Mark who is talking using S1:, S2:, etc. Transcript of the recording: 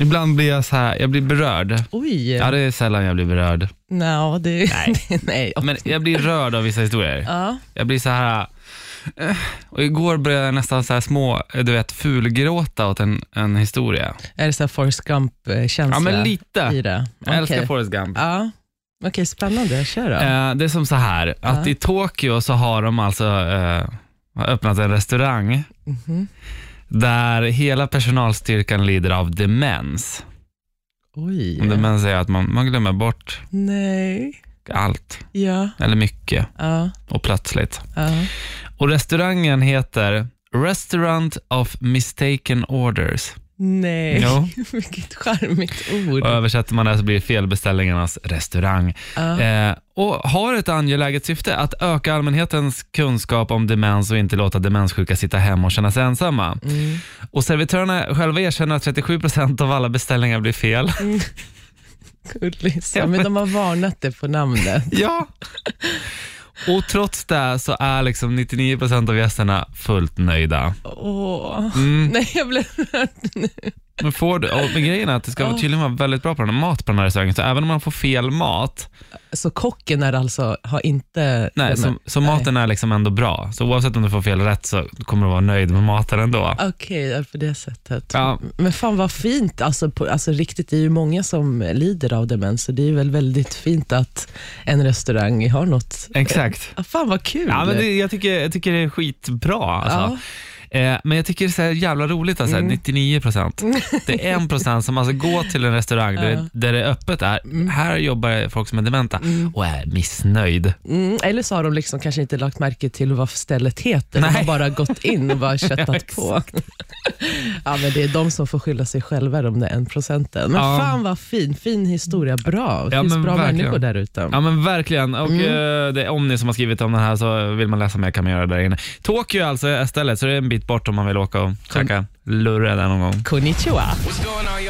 S1: Ibland blir jag så här, jag blir berörd.
S2: Oj.
S1: Ja, det är sällan jag blir berörd.
S2: Nå, det, nej. nej.
S1: Men jag blir rörd av vissa historier.
S2: Ja.
S1: Jag blir så här... eh, Och igår började jag nästan så här små, eh, du vet, fulgråta åt en, en historia.
S2: Är det så här Forrest Gump-känsla
S1: Ja, men lite.
S2: i det?
S1: Jag älskar
S2: Okej.
S1: Forrest Gump.
S2: Ja. Okej, spännande. Kör då.
S1: Eh, Det är som så här, att
S2: Ja.
S1: i Tokyo så har de alltså eh, har öppnat en restaurang
S2: Mhm.
S1: där hela personalstyrkan lider av demens.
S2: Oj.
S1: Och Demens är att man, man glömmer bort
S2: Nej.
S1: allt,
S2: Ja.
S1: eller mycket,
S2: Ja.
S1: och plötsligt.
S2: ja.
S1: Och restaurangen heter Restaurant of Mistaken Orders.
S2: Nej.
S1: Jo.
S2: Vilket charmigt ord.
S1: Och översätter man det så blir det felbeställningarnas restaurang.
S2: Ja.
S1: Eh, och har ett angeläget syfte, att öka allmänhetens kunskap om demens och inte låta demenssjuka sitta hemma och känna sig ensamma.
S2: Mm.
S1: Och servitörerna själva erkänner att 37% av alla beställningar blir fel.
S2: Gullis.
S1: Ja,
S2: Ja, men
S1: men-
S2: de har varnat dig på namnet.
S1: ja. Och trots det så är liksom 99% av gästerna fullt nöjda.
S2: Åh.
S1: Mm.
S2: Nej, jag blev rörd nu.
S1: Men, får du, och men grejen är att det ska tydligen vara väldigt bra på den här mat på den här restaurangen, så även om man får fel mat,
S2: Så kocken är alltså, har inte...
S1: nej, så, så maten är liksom ändå bra. Så oavsett om du får fel rätt så kommer du vara nöjd med maten ändå.
S2: Okej, ja, på det sättet.
S1: Ja.
S2: Men fan vad fint. Alltså, på, alltså riktigt, det är ju många som lider av demens, så det är väl väldigt fint att en restaurang har något.
S1: Exakt.
S2: Ah, fan vad kul.
S1: Ja, men det, jag, tycker, jag tycker det är skitbra. Alltså. Eh, men jag tycker det är så här jävla roligt, alltså, 99 procent. Det är 1 procent som alltså går till en restaurang där,
S2: Ja.
S1: där det är öppet. Är, Här jobbar folk som är dementa och är missnöjd.
S2: Mm, eller så har de liksom kanske inte lagt märke till vad stället heter.
S1: Nej.
S2: De har bara gått in och bara köttat på. ja, men det är de som får skylla sig själva, de där en procenten. Men
S1: Ja.
S2: fan vad fin, fin historia. Bra. Det
S1: Ja,
S2: finns
S1: men
S2: bra
S1: verkligen.
S2: människor där ute.
S1: Ja men verkligen. Och eh, det är Omni som har skrivit om den här så vill man läsa mer kan man göra det där inne. Tokyo alltså är stället så det är en bit bort om man vill åka och käka lurre där någon gång.
S2: Konnichiwa.
S3: What's going